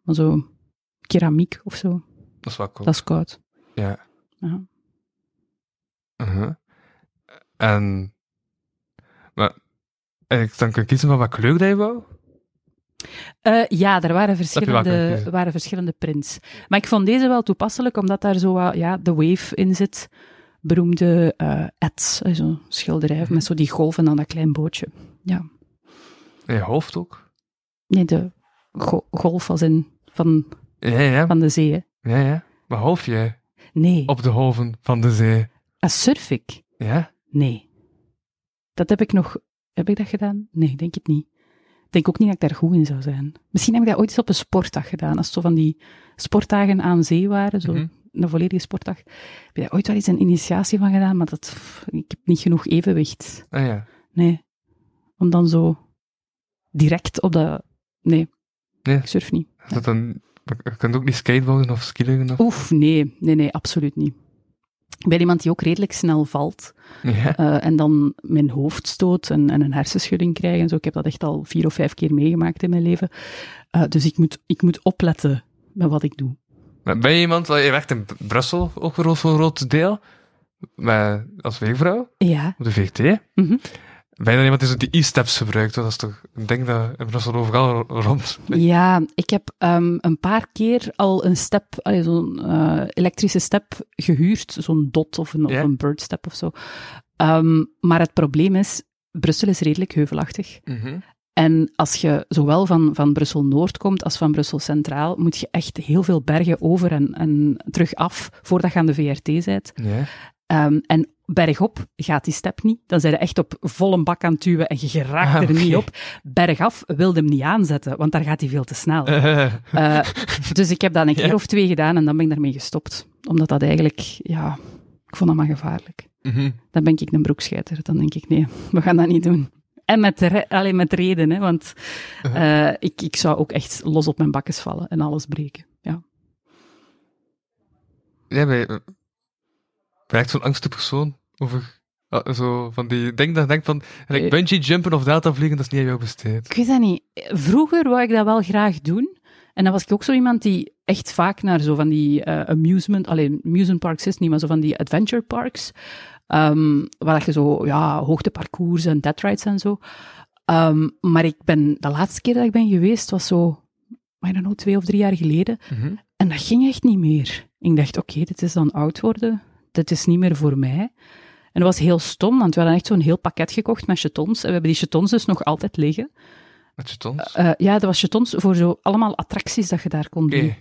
Speaker 5: Maar zo keramiek of zo,
Speaker 4: Dat is wel cool.
Speaker 5: dat is koud.
Speaker 4: Ja.
Speaker 5: Ja.
Speaker 4: Uh-huh. En... Maar... En ik dan kan kiezen van wat kleur dat je wou?
Speaker 5: Eh, ja, er waren
Speaker 4: kunnen
Speaker 5: verschillende,
Speaker 4: kiezen.
Speaker 5: waren verschillende prints. Maar ik vond deze wel toepasselijk, omdat daar zo wat, ja, de wave in zit. Beroemde eh ads, eh, zo'n schilderij met zo die golven aan dat klein bootje. Ja,
Speaker 4: En je hoofd ook?
Speaker 5: nee, de go- golf als in van,
Speaker 4: Ja, ja.
Speaker 5: van de zee. hè.
Speaker 4: Ja, ja. Maar hoofd jij?
Speaker 5: Nee,
Speaker 4: Op de hoven van de zee.
Speaker 5: Ah, surf ik?
Speaker 4: Ja?
Speaker 5: Nee. Dat heb ik nog... Heb ik dat gedaan? Nee, ik denk het niet. Ik denk ook niet dat ik daar goed in zou zijn. Misschien heb ik dat ooit eens op een sportdag gedaan. Als het zo van die sportdagen aan zee waren, zo
Speaker 4: Mhm.
Speaker 5: een volledige sportdag. Heb je daar ooit wel eens een initiatie van gedaan, maar dat, pff, ik heb niet genoeg evenwicht.
Speaker 4: Ah, ja.
Speaker 5: Nee. Om dan zo direct op dat... Nee.
Speaker 4: Nee.
Speaker 5: Ik surf niet.
Speaker 4: Dat dan, je kunt ook niet skateboarden of skillen. Of,
Speaker 5: Oef, nee. Nee, nee, absoluut niet. Ik ben iemand die ook redelijk snel valt.
Speaker 4: ja.
Speaker 5: eh, en dan mijn hoofd stoot en, en een hersenschudding krijgen. en Zo. Ik heb dat echt al vier of vijf keer meegemaakt in mijn leven. Eh, dus ik moet, ik moet opletten met wat ik doe.
Speaker 4: Maar Ben je iemand, want je werkt in Br- Brussel ook voor voor een groot deel, maar als weegvrouw,
Speaker 5: Ja.
Speaker 4: op de VT.
Speaker 5: Mhm.
Speaker 4: Ben je dan iemand die zo die e-steps gebruikt? Want Dat is toch een ding dat in Brussel overal ro- rond...
Speaker 5: Ja, ik heb ehm, een paar keer al een step, allee, zo'n eh, elektrische step gehuurd. Zo'n dot of een,
Speaker 4: Ja.
Speaker 5: of een bird step of zo. Ehm, maar het probleem is, Brussel is redelijk heuvelachtig. En als je zowel van, van Brussel-Noord komt als van Brussel-Centraal, moet je echt heel veel bergen over en, en terug af voordat je aan de VRT bent.
Speaker 4: Ja.
Speaker 5: Ehm, en bergop gaat die step niet. Dan zijn je echt op volle bak aan het duwen en je geraakt
Speaker 4: Ah,
Speaker 5: er niet
Speaker 4: oké.
Speaker 5: op. Bergaf wilde hem niet aanzetten, want daar gaat hij veel te snel. Eh, dus ik heb dat een keer
Speaker 4: Ja.
Speaker 5: of twee gedaan en dan ben ik daarmee gestopt. Omdat dat eigenlijk, ja, ik vond dat maar gevaarlijk.
Speaker 4: Mhm.
Speaker 5: Dan ben ik een broekscheiter. Dan denk ik, nee, we gaan dat niet doen. En met, re- allee, met reden, hè, want
Speaker 4: Uh-huh.
Speaker 5: eh, ik, ik zou ook echt los op mijn bakkes vallen en alles breken. Ja.
Speaker 4: Ja, ben je ben je echt zo'n angstige persoon over... ah, zo van die ding dat je denkt van, like,
Speaker 5: Eh.
Speaker 4: bungee jumpen of data vliegen, dat is niet aan jou besteed.
Speaker 5: Ik weet dat niet. Vroeger wou ik dat wel graag doen. En dan was ik ook zo iemand die echt vaak naar zo van die eh, amusement... Alleen amusement parks is het niet, maar zo van die adventure parks. ehm, waar dat je zo, ja, hoogteparcours en dead rides en zo. Ehm, maar ik ben... De laatste keer dat ik ben geweest was zo... I don't know, twee of drie jaar geleden.
Speaker 4: Mhm.
Speaker 5: En dat ging echt niet meer. Ik dacht, oké, dit is dan oud worden. Dit is niet meer voor mij. En dat was heel stom, want we hadden echt zo'n heel pakket gekocht met jetons. En we hebben die jetons dus nog altijd liggen.
Speaker 4: Met je tons.
Speaker 5: Eh, ja, dat was jetons voor zo allemaal attracties dat je daar kon doen.
Speaker 4: Oké.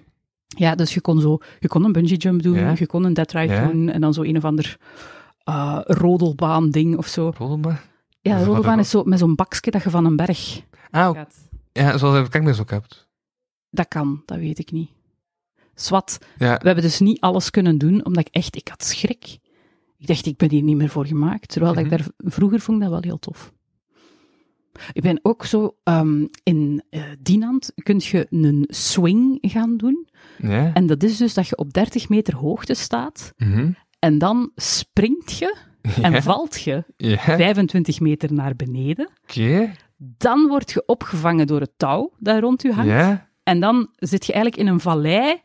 Speaker 5: Ja, dus je kon, zo, je kon een bungee jump doen,
Speaker 4: Ja.
Speaker 5: je kon een dead ride
Speaker 4: Ja.
Speaker 5: doen en dan zo een of ander eh, rodelbaan ding of zo.
Speaker 4: Rollenbar.
Speaker 5: Ja,
Speaker 4: Dat is
Speaker 5: rodelbaan
Speaker 4: wat
Speaker 5: is zo met zo'n bakje dat je van een berg
Speaker 4: Ah, ook-
Speaker 5: gaat.
Speaker 4: ja, zoals je op Kangmis ook hebt.
Speaker 5: Dat kan, dat weet ik niet. Swat,
Speaker 4: Ja,
Speaker 5: we hebben dus niet alles kunnen doen, omdat ik echt, ik had schrik. Ik dacht, ik ben hier niet meer voor gemaakt. Terwijl
Speaker 4: Mhm.
Speaker 5: dat ik daar vroeger vond ik dat wel heel tof. Ik ben ook zo, ehm, in eh, Dinant kun je een swing gaan doen.
Speaker 4: ja.
Speaker 5: En dat is dus dat je op 30 meter hoogte staat
Speaker 4: Mhm.
Speaker 5: en dan springt je en
Speaker 4: Ja.
Speaker 5: valt je
Speaker 4: Ja, oké.
Speaker 5: 25 meter naar beneden. Dan word je opgevangen door het touw dat rond je hangt.
Speaker 4: Ja.
Speaker 5: En dan zit je eigenlijk in een vallei,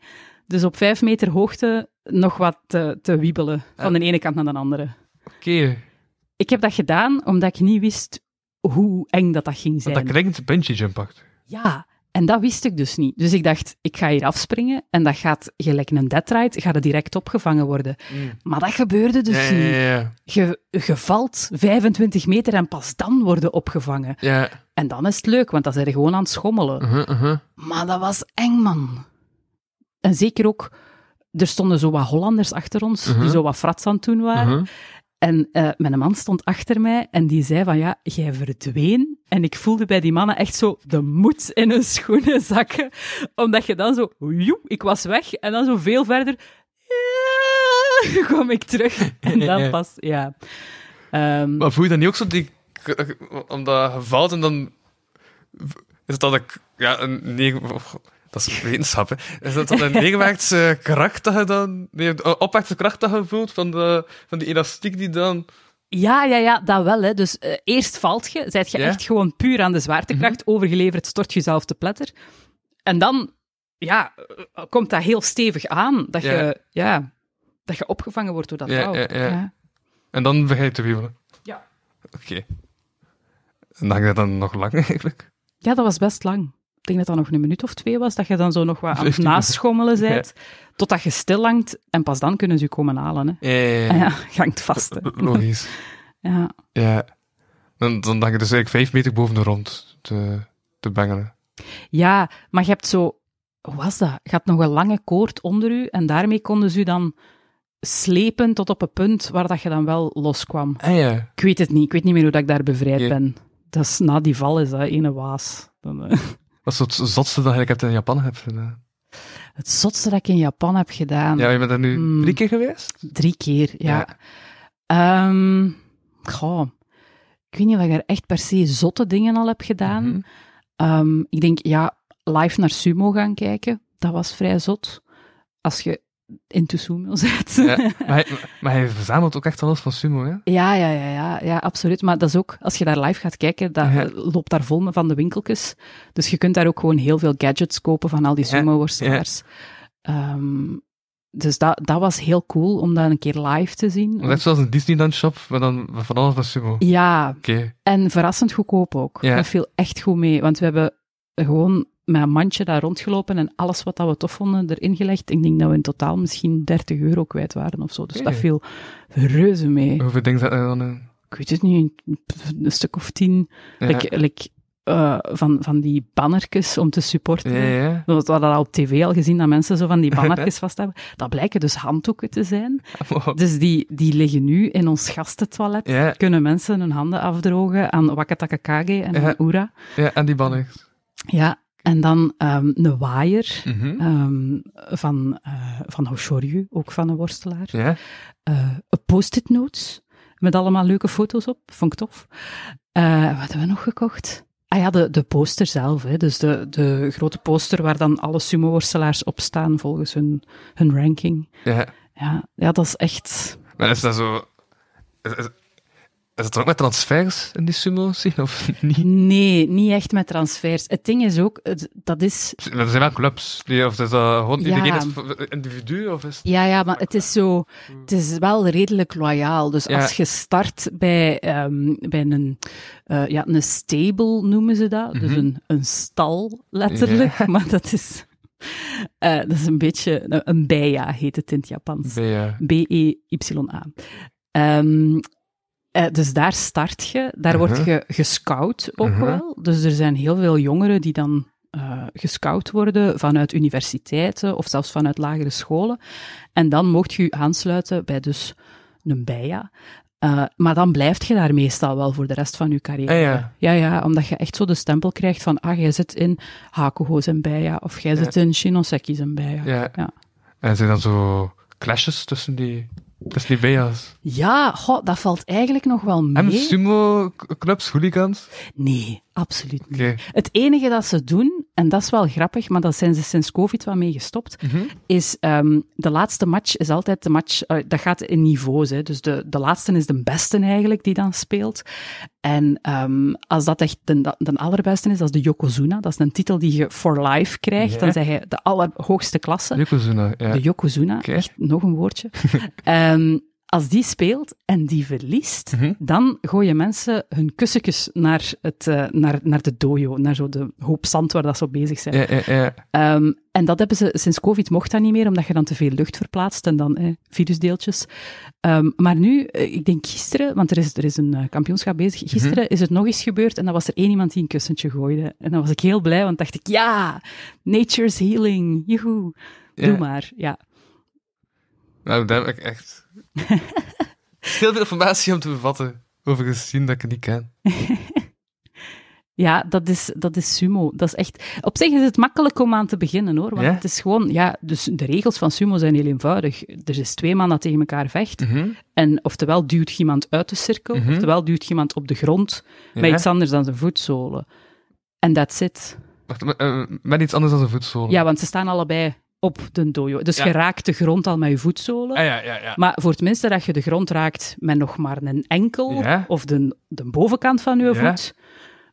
Speaker 5: dus op 5 meter hoogte nog wat te, te wiebelen van de ene kant naar de andere.
Speaker 4: Oké.
Speaker 5: Ik heb dat gedaan omdat ik niet wist hoe eng dat, dat ging zijn.
Speaker 4: Want dat klinkt bungee jump achter.
Speaker 5: Ja, en dat wist ik dus niet. Dus ik dacht, ik ga hier afspringen en dat gaat gelijk een dead ride, gaat het direct opgevangen worden. Maar dat gebeurde dus
Speaker 4: ja, ja,
Speaker 5: niet.
Speaker 4: ja,
Speaker 5: Je, je valt 25 meter en pas dan worden opgevangen.
Speaker 4: ja.
Speaker 5: En dan is het leuk, want dan zijn je gewoon aan het schommelen.
Speaker 4: Mhm, mhm.
Speaker 5: Maar dat was eng, man. En zeker ook, er stonden zo wat Hollanders achter ons, die zo wat frats aan het doen waren.
Speaker 4: Mhm.
Speaker 5: En eh, mijn man stond achter mij en die zei van, ja, jij verdween. En ik voelde bij die mannen echt zo de moed in hun schoenen zakken. Omdat je dan zo, joep, ik was weg. En dan zo veel verder, ja, kwam ik terug. En dan pas, ja. Ehm,
Speaker 4: Maar voel je dan niet ook zo die... Omdat je valt en dan... Is dat een... Ja, een negen... oh, Dat is wetenschap, hè. Is dat dan een negenwaartse kracht dat je dan... Nee, een opwaartse kracht dat je voelt van, de, van die elastiek die dan...
Speaker 5: Ja, ja, ja, dat wel. Hè. Dus eh, eerst valt je, zijt je
Speaker 4: Ja. Mhm.
Speaker 5: echt gewoon puur aan de zwaartekracht overgeleverd, stort jezelf te pletter. En dan ja, eh, komt dat heel stevig aan, dat,
Speaker 4: Ja.
Speaker 5: je, ja, dat je opgevangen wordt door dat
Speaker 4: Ja,
Speaker 5: touw.
Speaker 4: ja, ja. En dan begin je te wiebelen.
Speaker 5: Ja.
Speaker 4: Oké. En dan ga je dan nog lang, eigenlijk.
Speaker 5: Ja, dat was best lang. Ik denk dat dat nog een minuut of twee was, dat je dan zo nog wat aan het
Speaker 4: 15
Speaker 5: naschommelen bent, totdat je stillangt en pas dan kunnen ze je komen halen. Hè.
Speaker 4: Ja, ja, ja.
Speaker 5: Ja, je hangt vast. hè.
Speaker 4: Logisch.
Speaker 5: Ja.
Speaker 4: Ja. Dan, dan hang je dus eigenlijk vijf meter boven de rond te, te bengelen.
Speaker 5: Ja, maar je hebt zo... Hoe was dat? Je had nog een lange koord onder u en daarmee konden ze u dan slepen tot op een punt waar dat je dan wel loskwam.
Speaker 4: Ah ja.
Speaker 5: Ik weet het niet. Ik weet niet meer hoe dat ik daar bevrijd
Speaker 4: Ja.
Speaker 5: ben. Dat is, na die val is dat ene waas. Dan, eh.
Speaker 4: Dat is het zotste dat je eigenlijk hebt in Japan hebt gedaan.
Speaker 5: Het zotste dat ik in Japan heb gedaan.
Speaker 4: Ja, je bent daar nu
Speaker 5: Hmm.
Speaker 4: drie keer geweest?
Speaker 5: Drie keer, ja.
Speaker 4: Ja.
Speaker 5: Ehm, goh, ik weet niet of ik daar echt per se zotte dingen al heb gedaan.
Speaker 4: Mhm.
Speaker 5: Ehm, ik denk, ja, live naar sumo gaan kijken, dat was vrij zot. Als je into sumo bent.
Speaker 4: Ja, maar, hij, maar hij verzamelt ook echt alles van sumo, hè?
Speaker 5: Ja, ja, ja, ja, ja, absoluut. Maar dat is ook, als je daar live gaat kijken, dat
Speaker 4: Ja.
Speaker 5: eh, loopt daar vol van de winkeltjes. Dus je kunt daar ook gewoon heel veel gadgets kopen van al die sumo-worstelaars. Ehm, dus dat, dat was heel cool om dat een keer live te zien.
Speaker 4: Net zoals een Disneyland shop, maar dan van alles van sumo. Oké.
Speaker 5: Ja, en verrassend goedkoop ook.
Speaker 4: Ja.
Speaker 5: Dat viel echt goed mee, want we hebben gewoon met een mandje daar rondgelopen en alles wat dat we tof vonden erin gelegd. Ik denk dat we in totaal misschien 30 euro kwijt waren of zo. Dus
Speaker 4: Oké.
Speaker 5: dat viel reuze mee.
Speaker 4: Hoeveel dingen zat er dan in?
Speaker 5: ik weet het niet, een- een stuk of tien
Speaker 4: Ja.
Speaker 5: like, like, eh, van, van die bannertjes om te supporten.
Speaker 4: Ja, ja.
Speaker 5: We hadden dat al op tv al gezien, dat mensen zo van die bannertjes vast hebben. Dat blijken dus handdoeken te zijn. Dus die, die liggen nu in ons gastentoilet.
Speaker 4: Ja.
Speaker 5: Kunnen mensen hun handen afdrogen aan Wakatakakage en
Speaker 4: Ja.
Speaker 5: aan Ura.
Speaker 4: Ja, en die banners.
Speaker 5: Ja, en dan ehm, een waaier
Speaker 4: Mhm.
Speaker 5: ehm, van, eh van Hoshoryu, ook van een worstelaar
Speaker 4: Ja.
Speaker 5: eh post-it notes met allemaal leuke foto's op. Vond ik tof. Eh, wat hebben we nog gekocht? Ah ja, de, de poster zelf. Hè. Dus de, de grote poster waar dan alle sumo-worstelaars op staan volgens hun, hun ranking.
Speaker 4: ja.
Speaker 5: Ja, ja, dat is echt...
Speaker 4: Maar is dat zo... Is, is, is dat dan ook met transfers in die sumo zien, of niet?
Speaker 5: Nee, niet echt met transfers. Het ding is ook, het- dat is...
Speaker 4: Er zijn wel clubs, die, of is dat gewoon
Speaker 5: Ja.
Speaker 4: iedereen is v- individu, of is...
Speaker 5: Ja, ja, maar het is zo... Het is wel redelijk loyaal. Dus
Speaker 4: Ja.
Speaker 5: als je start bij, ehm, bij een, eh, ja, een stable, noemen ze dat. Dus een, een stal, letterlijk. Maar dat is... eh, dat is een beetje... Een, een beia heet het in het Japans.
Speaker 4: Nee, ja.
Speaker 5: B-E-Y-A. E Ehm, eh, dus daar start je, daar word je gescout ook wel. Dus er zijn heel veel jongeren die dan eh gescout worden vanuit universiteiten of zelfs vanuit lagere scholen. En dan mocht je je aansluiten bij dus een bijja. Eh, maar dan blijf je daar meestal wel voor de rest van je carrière.
Speaker 4: Ah, ja.
Speaker 5: ja, ja, omdat je echt zo de stempel krijgt van, ah, jij zit in Hakuho's en bijja, of jij zit in Shinoseki's en E bijja.
Speaker 4: Ja.
Speaker 5: Ja.
Speaker 4: En zijn dan zo clashes tussen die, tussen die bea's?
Speaker 5: Ja, goh, dat valt eigenlijk nog wel
Speaker 4: En
Speaker 5: mee.
Speaker 4: sumo-clubs, hooligans?
Speaker 5: Nee, absoluut niet.
Speaker 4: Oké.
Speaker 5: Het enige dat ze doen, en dat is wel grappig, maar daar zijn ze sinds COVID wel mee gestopt, is ehm, de laatste match is altijd de match, eh, dat gaat in niveaus, hè, dus de, de laatste is de beste eigenlijk die dan speelt. En ehm, als dat echt de, de allerbeste is, dat is de Yokozuna, dat is een titel die je for life krijgt, dan zeg je de allerhoogste klasse.
Speaker 4: Yokozuna, ja.
Speaker 5: De Yokozuna,
Speaker 4: Eh, Oké.
Speaker 5: echt nog een woordje. Ehm, als die speelt en die verliest,
Speaker 4: Mhm.
Speaker 5: dan gooien mensen hun kussentjes naar, het, eh, naar, naar de dojo, naar zo de hoop zand waar dat ze op bezig zijn.
Speaker 4: Ja, ja, ja.
Speaker 5: Ehm, en dat hebben ze, sinds COVID mocht dat niet meer, omdat je dan te veel lucht verplaatst en dan eh, virusdeeltjes. Ehm, maar nu, eh, ik denk gisteren, want er is, er is een eh, kampioenschap bezig,
Speaker 4: Mhm.
Speaker 5: gisteren is het nog eens gebeurd en dan was er één iemand die een kussentje gooide. En dan was ik heel blij, want dacht ik, ja, nature's healing, joehoe. Doe
Speaker 4: Ja.
Speaker 5: maar, ja.
Speaker 4: Nou, daar heb ik echt... Heel veel informatie om te bevatten over een scene dat ik niet ken.
Speaker 5: Ja, dat is, dat is sumo. Dat is echt... Op zich is het makkelijk om aan te beginnen, hoor. Want
Speaker 4: Ja?
Speaker 5: het is gewoon... Ja, dus de regels van sumo zijn heel eenvoudig. Er is twee man dat tegen elkaar vecht. En oftewel duwt je iemand uit de cirkel, oftewel duwt je iemand op de grond met
Speaker 4: Mhm. Ja.
Speaker 5: iets anders dan zijn voetzolen. En that's it.
Speaker 4: Wacht, maar, eh, met iets anders dan een voetzolen.
Speaker 5: Ja, want ze staan allebei op de dojo. Dus
Speaker 4: Oh. Ja.
Speaker 5: je raakt de grond al met je voetzolen.
Speaker 4: Ah, ja, ja, ja.
Speaker 5: Maar voor het minste dat je de grond raakt met nog maar een enkel
Speaker 4: Ja.
Speaker 5: of de, de bovenkant van je
Speaker 4: Ja.
Speaker 5: voet,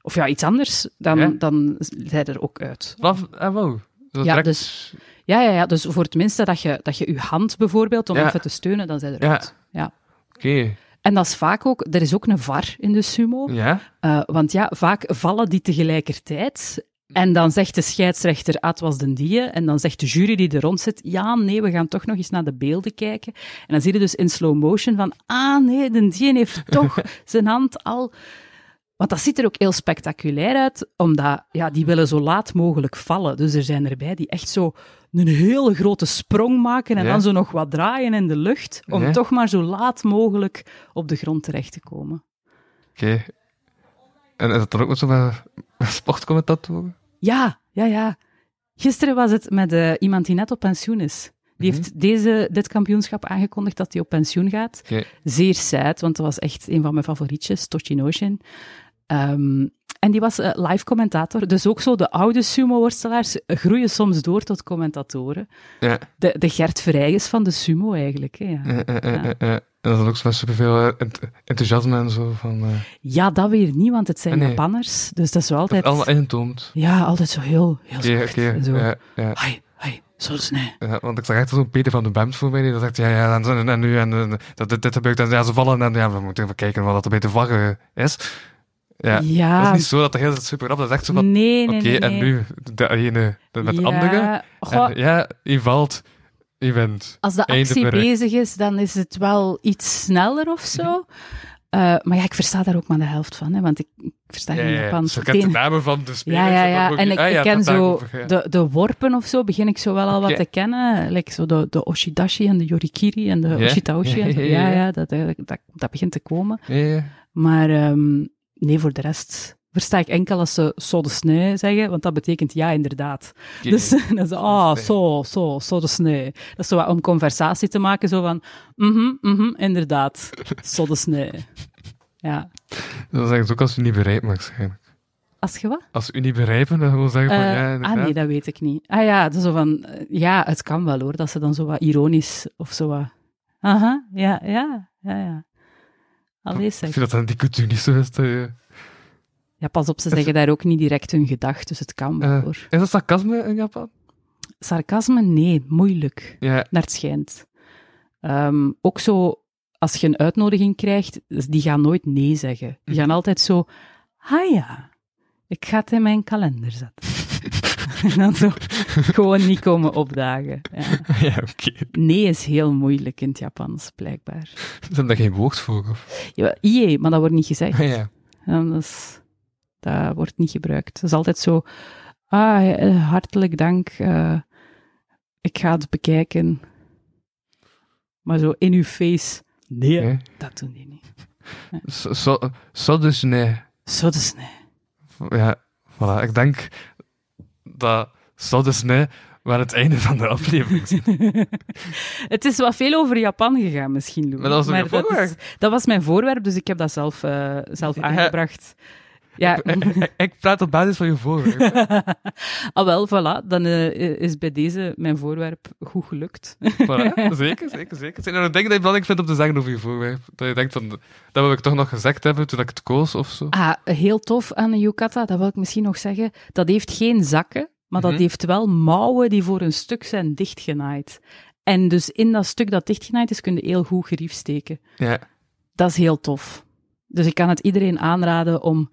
Speaker 5: of ja, iets anders, dan,
Speaker 4: Ja.
Speaker 5: dan zij er ook uit.
Speaker 4: Vanaf, ah, wow. Dat
Speaker 5: Ja,
Speaker 4: direct-
Speaker 5: dus- Ja, ja, ja, dus voor het minste dat je dat je, je hand bijvoorbeeld, om
Speaker 4: Ja.
Speaker 5: even te steunen, dan zij
Speaker 4: Ja.
Speaker 5: eruit. Ja.
Speaker 4: Oké.
Speaker 5: En dat is vaak ook, er is ook een var in de sumo,
Speaker 4: Ja?
Speaker 5: eh, want ja, vaak vallen die tegelijkertijd. En dan zegt de scheidsrechter, ah, het was den die. En dan zegt de jury die er rond zit, ja, nee, we gaan toch nog eens naar de beelden kijken. En dan zie je dus in slow motion van, ah, nee, den die heeft toch zijn hand al... Want dat ziet er ook heel spectaculair uit, omdat ja, die willen zo laat mogelijk vallen. Dus er zijn erbij die echt zo een hele grote sprong maken en
Speaker 4: Ja.
Speaker 5: dan zo nog wat draaien in de lucht, om
Speaker 4: Ja.
Speaker 5: toch maar zo laat mogelijk op de grond terecht te komen.
Speaker 4: Oké. En is dat dan ook met zo'n sportcommentatoren?
Speaker 5: Ja, ja, ja. Gisteren was het met eh, iemand die net op pensioen is. Die
Speaker 4: Mhm.
Speaker 5: heeft deze, dit kampioenschap aangekondigd dat hij op pensioen gaat.
Speaker 4: Oké.
Speaker 5: Zeer sad, want dat was echt een van mijn favorietjes, Toshinoshin. Ehm, En die was eh, live commentator. Dus ook zo de oude sumo-worstelaars groeien soms door tot commentatoren.
Speaker 4: Ja.
Speaker 5: De, de Gert Verheijes van de sumo eigenlijk. Hè, ja.
Speaker 4: Eh, eh, eh, eh, eh. En dat is ook zo met superveel eh, ent- enthousiasme en zo. Van, eh
Speaker 5: Ja, dat weer niet, want het zijn
Speaker 4: Ah, nee.
Speaker 5: Japanners. Dus dat is wel
Speaker 4: dat
Speaker 5: altijd...
Speaker 4: is allemaal ingetoomd.
Speaker 5: Ja, altijd zo heel, heel
Speaker 4: Oké,
Speaker 5: zacht.
Speaker 4: oké.
Speaker 5: en zo.
Speaker 4: Ja, ja.
Speaker 5: Hai, hai, zo snel.
Speaker 4: Ja, want ik zag echt zo'n Peter van de Bemt voor mij, die dat zegt, ja, ja, en, zo, en, en nu, en, en dat, dit, dit gebeurt, en ja, ze vallen, en ja, we moeten even kijken wat dat bij de vlaggen is. Ja. Dat is niet zo dat de hele tijd super rap, dat is echt zo van,
Speaker 5: nee, nee,
Speaker 4: oké,
Speaker 5: nee,
Speaker 4: en
Speaker 5: nee.
Speaker 4: nu de ene de- met de
Speaker 5: Ja.
Speaker 4: andere,
Speaker 5: Goh,
Speaker 4: en ja, je valt, je wint.
Speaker 5: als de
Speaker 4: einde
Speaker 5: actie
Speaker 4: bereik.
Speaker 5: bezig is, dan is het wel iets sneller of zo.
Speaker 4: Mhm.
Speaker 5: Eh, maar ja, ik versta daar ook maar de helft van, hè, want ik, ik versta geen Japans.
Speaker 4: Zo kent de
Speaker 5: Meteen-
Speaker 4: namen van de spelers.
Speaker 5: Ja, ja,
Speaker 4: en dan
Speaker 5: ja.
Speaker 4: ook-
Speaker 5: En ik,
Speaker 4: ah,
Speaker 5: ik
Speaker 4: ja,
Speaker 5: ken
Speaker 4: dat daar
Speaker 5: zo
Speaker 4: over, ja.
Speaker 5: de, de worpen of zo, begin ik zo wel al wat
Speaker 4: Oké.
Speaker 5: te kennen. Like zo de, de Oshidashi en de Yorikiri en de
Speaker 4: Ja.
Speaker 5: Oshitaoshi. en zo.
Speaker 4: Ja, ja, ja.
Speaker 5: Ja, ja, dat, eigenlijk- dat, dat begint te komen.
Speaker 4: Ja, ja.
Speaker 5: Maar ehm, nee, voor de rest versta ik enkel als ze so de snee zeggen, want dat betekent ja, inderdaad.
Speaker 4: Oké.
Speaker 5: Dus dan ze, ah,
Speaker 4: snee.
Speaker 5: zo, zo, zo de snee. Dat is zo wat om conversatie te maken, zo van, mhm, mhm, inderdaad, zo de snee. Ja.
Speaker 4: Dan zeggen ze ook als je niet bereikt mag zijn.
Speaker 5: Als je wat?
Speaker 4: Als je niet begrijpen, dan wil zeggen van,
Speaker 5: Eh,
Speaker 4: ja, inderdaad.
Speaker 5: ah nee, dat weet ik niet. Ah ja, dus zo van, eh, ja, het kan wel hoor, dat ze dan zo wat ironisch of zo wat... Aha, ja, ja, ja, ja. Allee
Speaker 4: Ik
Speaker 5: zeg.
Speaker 4: vind dat dan die eh, cultuur niet zo is. dat je-
Speaker 5: Ja, pas op, ze zeggen daar ook niet direct hun gedacht, dus het kan wel
Speaker 4: Eh,
Speaker 5: hoor.
Speaker 4: Is dat sarcasme in Japan?
Speaker 5: Sarcasme? Nee, moeilijk.
Speaker 4: Ja,
Speaker 5: Naar het schijnt. Ehm, ook zo, als je een uitnodiging krijgt, dus die gaan nooit nee zeggen. Die gaan altijd zo, ah ja, ik ga het in mijn kalender zetten. en dan zo gewoon niet komen opdagen. Ja.
Speaker 4: ja oké.
Speaker 5: Nee is heel moeilijk in het Japans, blijkbaar.
Speaker 4: Ze hebben daar geen woord voor. Of?
Speaker 5: Ja, ie, maar dat wordt niet gezegd.
Speaker 4: Ah, Ja.
Speaker 5: En dat, is- dat wordt niet gebruikt. Het is altijd zo, ah, eh, hartelijk dank, eh, ik ga het bekijken. Maar zo in uw face, nee,
Speaker 4: Ja.
Speaker 5: dat doen die niet.
Speaker 4: Zo- Zo, zo dus nee.
Speaker 5: Zo dus nee.
Speaker 4: Ja, voilà. Ik denk dat zo dus nee wel het einde van de aflevering is.
Speaker 5: Het is wat veel over Japan gegaan misschien, Louis.
Speaker 4: Maar dat was toch je
Speaker 5: dat, is-
Speaker 4: voorwerp?
Speaker 5: dat was mijn voorwerp, dus ik heb dat zelf, eh, zelf aangebracht. Ja.
Speaker 4: ik, ik praat op basis van je voorwerp.
Speaker 5: Ah wel, voilà. Dan eh, is bij deze mijn voorwerp goed gelukt.
Speaker 4: Voilà. Zeker, zeker, zeker. Zijn er nog dingen dat je belangrijk vindt om te zeggen over je voorwerp? Dat je denkt van, dat wil ik toch nog gezegd hebben toen ik het koos of zo?
Speaker 5: Ah, heel tof aan de yukata, dat wil ik misschien nog zeggen. Dat heeft geen zakken, maar dat
Speaker 4: Mhm.
Speaker 5: heeft wel mouwen die voor een stuk zijn dichtgenaaid. En dus in dat stuk dat dichtgenaaid is, kun je heel goed gerief steken.
Speaker 4: Ja.
Speaker 5: Dat is heel tof. Dus ik kan het iedereen aanraden om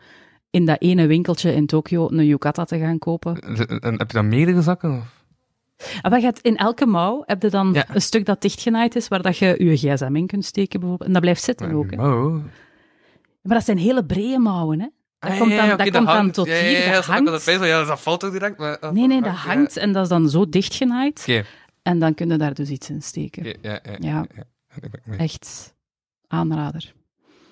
Speaker 5: in dat ene winkeltje in Tokio een yukata te gaan kopen.
Speaker 4: En, en heb je dan meerdere zakken? Of?
Speaker 5: Ah, Maar je hebt in elke mouw heb je dan
Speaker 4: Ja.
Speaker 5: een stuk dat dichtgenaaid is, waar dat je je gsm in kunt steken bijvoorbeeld. En dat blijft zitten ook. hè.
Speaker 4: Oh.
Speaker 5: Maar dat zijn hele brede mouwen, hè? Dat
Speaker 4: Ah,
Speaker 5: komt
Speaker 4: ja,
Speaker 5: dan,
Speaker 4: ja,
Speaker 5: dat
Speaker 4: oké,
Speaker 5: komt dan
Speaker 4: hangt.
Speaker 5: tot
Speaker 4: Ja,
Speaker 5: hier,
Speaker 4: ja, ja,
Speaker 5: dat
Speaker 4: snap ik wat
Speaker 5: hangt.
Speaker 4: het is. Ja, dat valt ook direct. Maar, ah,
Speaker 5: Nee, nee,
Speaker 4: ah,
Speaker 5: dat
Speaker 4: ja.
Speaker 5: hangt en dat is dan zo dichtgenaaid.
Speaker 4: Oké.
Speaker 5: En dan kun je daar dus iets in steken.
Speaker 4: Ja, ja, ja,
Speaker 5: Ja.
Speaker 4: ja, ja. Ik ben mee.
Speaker 5: Echt aanrader.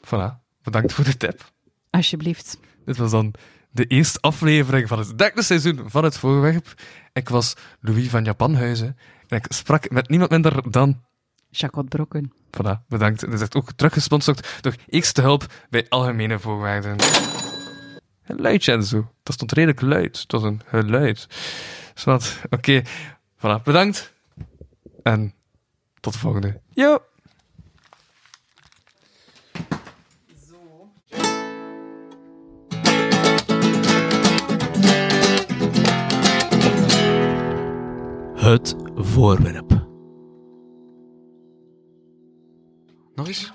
Speaker 4: Voilà, bedankt voor de tip.
Speaker 5: Alsjeblieft.
Speaker 4: Dit was dan de eerste aflevering van het derde seizoen van het voorwerp. Ik was Louis van Japanhuizen en ik sprak met niemand minder dan.
Speaker 5: Jacot Brokken.
Speaker 4: Voilà, bedankt. Dit is echt ook teruggesponsord door Eerste Hulp bij Algemene Voorwaarden. Een luidje en zo. Dat stond redelijk luid. Het was een geluid. Dus wat, oké. Voilà, bedankt. En tot de volgende. Yo!
Speaker 6: Het voorwerp.
Speaker 4: Nog eens?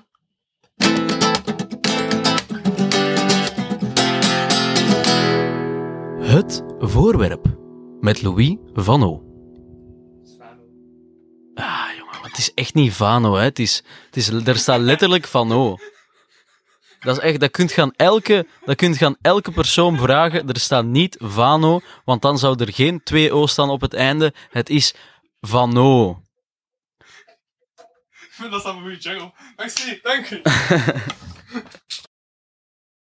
Speaker 6: Het voorwerp. Met Louis Vano. Ah, jongen, maar het is echt niet Vano, hè. Het is, het is, er staat letterlijk Vano. Dat is echt, dat kunt gaan elke, dat kunt gaan elke persoon vragen. Er staat niet Vano, want dan zou er geen twee O staan op het einde. Het is Vano.
Speaker 4: Ik vind dat een goede jungle. Merci, dank u.